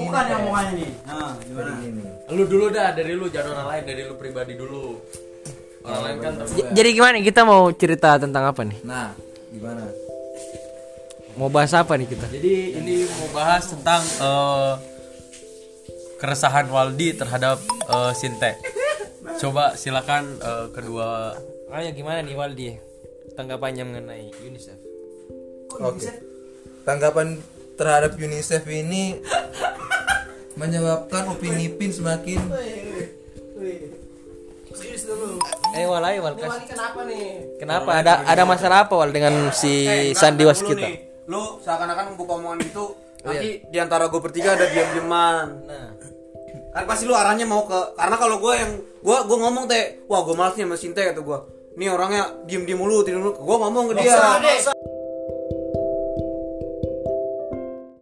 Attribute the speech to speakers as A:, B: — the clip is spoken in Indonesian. A: suka nih omongannya nih. Nah, gimana?
B: Ini.
C: Lu dulu dah dari lu jangan orang lain dari lu pribadi dulu. Orang lain kan
B: J-
C: terbuka.
D: Jadi gimana nih, kita mau cerita tentang apa nih?
B: Nah, gimana?
D: Mau bahas apa nih kita?
C: Jadi ini mau bahas tentang eh, keresahan Waldi terhadap eh, Sinte. Coba silakan eh, kedua
D: Ayo gimana nih Waldi? Tanggapannya mengenai UNICEF.
B: Oke. Tanggapan terhadap UNICEF ini menyebabkan Upin Ipin semakin
D: Eh Wal, ayo Wal, kas-
A: kenapa nih? Eh,
D: Kenapa ada ada masalah apa Wal dengan si
C: Eh,
D: Sandi Waskita?
A: Lu seakan-akan membuka omongan itu nanti di antara gue bertiga ada diam-diaman. Nah. Kan pasti lu arahnya mau ke karena kalau gue yang gue gue ngomong Iya. teh, wah gue malas nih sama Sinte kata gue. Nih orangnya diem-diem mulu tidur mulu. Gue ngomong ke dia.